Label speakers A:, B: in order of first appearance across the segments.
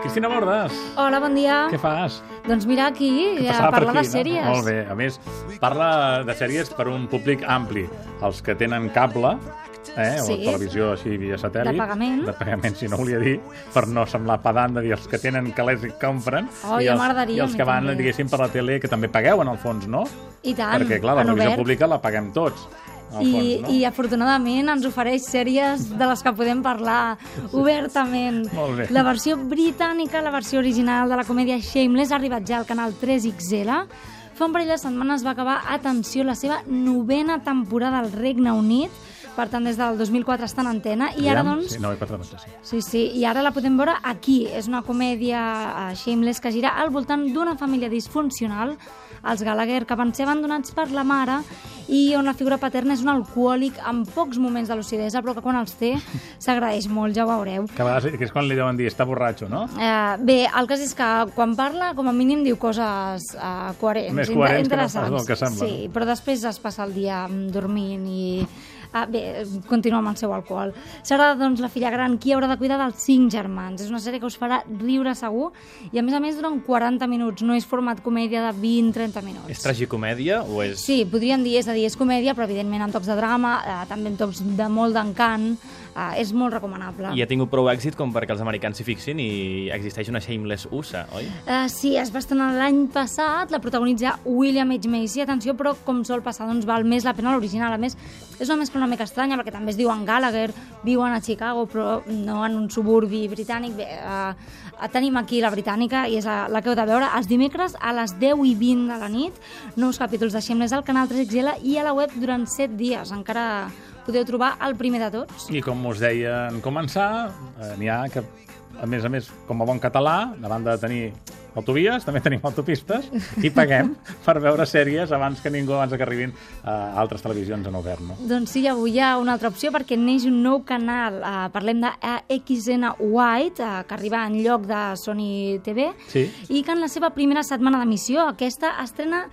A: Cristina Bordes.
B: Hola, bon dia.
A: Què fas?
B: Doncs mira aquí, a
A: Passava per
B: parlar de
A: aquí, no?
B: sèries.
A: Molt bé. A més, parla de sèries per un públic ampli. Els que tenen cable, eh, o
B: Sí.
A: televisió així via satèl·lit.
B: De pagament.
A: De pagament, si no volia dir, per no semblar pedant de dir els que tenen calés i compren.
B: Oh,
A: i
B: ja
A: els-
B: m'agradaria,
A: I els que
B: a mi
A: van,
B: també.
A: diguéssim, per la tele, que també pagueu, en el fons, no?
B: I tant,
A: Perquè, clar, la
B: en
A: televisió
B: obert.
A: pública la paguem tots. en el
B: I,
A: fons, no?
B: I afortunadament ens ofereix sèries de les que podem parlar obertament.
A: Molt bé.
B: La versió britànica, la versió original de la comèdia Shameless, ha arribat ja al canal 3XL. Fa un parell de setmanes va acabar, atenció, la seva novena temporada al Regne Unit. Per tant, des del 2004 està en antena. I ara,
A: Aviam,
B: doncs,
A: Sí, no, i quatre mesos, sí.
B: Sí, sí, i ara la podem veure aquí. És una comèdia eh, shameless que gira al voltant d'una família disfuncional, els Gallagher, que van ser abandonats per la mare i on la figura paterna és un alcohòlic amb pocs moments de lucidesa, però que quan els té s'agraeix molt, ja ho veureu.
A: Que a vegades, que és quan li deuen dir, està borratxo, no?
B: Eh, bé, el cas és que quan parla, com a mínim, diu coses eh, coherents,
A: Més
B: inte-
A: coherents que no pas
B: interessants.
A: del que sembla,
B: Sí, però després es passa el dia mm, dormint i... Ah, bé, continua amb el seu alcohol. Serà, doncs, la filla gran qui haurà de cuidar dels cinc germans. És una sèrie que us farà riure segur i, a més a més, durant 40 minuts. No és format comèdia de 20-30 minuts.
C: És tragicomèdia o és...
B: Sí, podríem dir, és a dir, és comèdia, però evidentment amb tocs de drama, eh, també amb tocs de molt d'encant. Eh, és molt recomanable.
C: I ha tingut prou èxit com perquè els americans s'hi fixin i existeix una Shameless USA, oi?
B: Uh, sí, es va estrenar l'any passat, la protagonitza William H. Macy, atenció, però com sol passar, doncs val més la pena l'original. A més, és una mescla una mica estranya, perquè també es diuen Gallagher, viuen a Chicago, però no en un suburbi britànic. Bé, uh, tenim aquí la britànica, i és la, la que heu de veure els dimecres a les 10 i 20 de la nit. Nous capítols de Shameless al canal 3XL i a la web durant 7 dies. Encara podeu trobar el primer de tots.
A: I com us deia en començar, eh, n'hi ha que, a més a més, com a bon català, a banda de tenir autovies, també tenim autopistes, i paguem per veure sèries abans que ningú, abans que arribin a altres televisions en obert, no?
B: Doncs sí, avui hi ha una altra opció perquè neix un nou canal. Uh, parlem de AXN White, uh, que arriba en lloc de Sony TV,
A: Sí.
B: i que en la seva primera setmana d'emissió aquesta estrena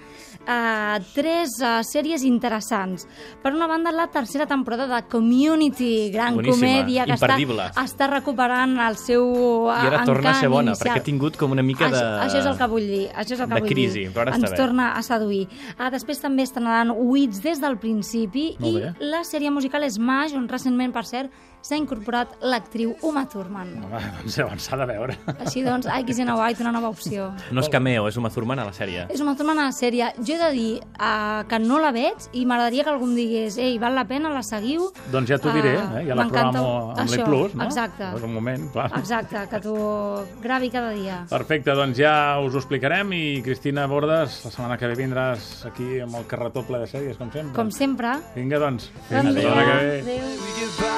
B: uh, tres uh, sèries interessants. Per una banda, la tercera temporada de Community, gran
C: Boníssima,
B: comèdia que
C: imperdible.
B: està, està recuperant el seu uh,
C: I ara torna a
B: encant
C: ser bona,
B: inicial.
C: perquè ha tingut com una mica de-
B: Això, això és el que vull dir. Això és el que
C: de
B: vull
C: crisi,
B: dir.
C: però ara està
B: Ens
C: bé.
B: torna a seduir. Ah, després també estrenaran Wits des del principi
A: Molt
B: i
A: bé.
B: la sèrie musical Smash, on recentment, per cert, s'ha incorporat l'actriu Uma Thurman.
A: Home, doncs abans s'ha de veure.
B: Així doncs, AXN White, una nova opció.
C: No és cameo, és Uma Thurman a la sèrie.
B: És Uma Thurman a la sèrie. Jo he de dir uh, que no la veig i m'agradaria que algú em digués ei, val la pena, la seguiu?
A: Doncs ja t'ho diré,
B: Ah,
A: eh? ja la
B: m'encanta
A: programo amb
B: això,
A: l'E+, no?
B: Exacte,
A: És un moment, clar.
B: exacte, que t'ho gravi cada dia.
A: Perfecte, doncs ja us ho explicarem i Cristina Bordes, la setmana que ve vindràs aquí amb el carretó ple de sèries, com sempre.
B: Com sempre,
A: Vinga, doncs.
B: bon
A: fins la
B: dia.
A: setmana que ve.
B: Adéu.
D: we get by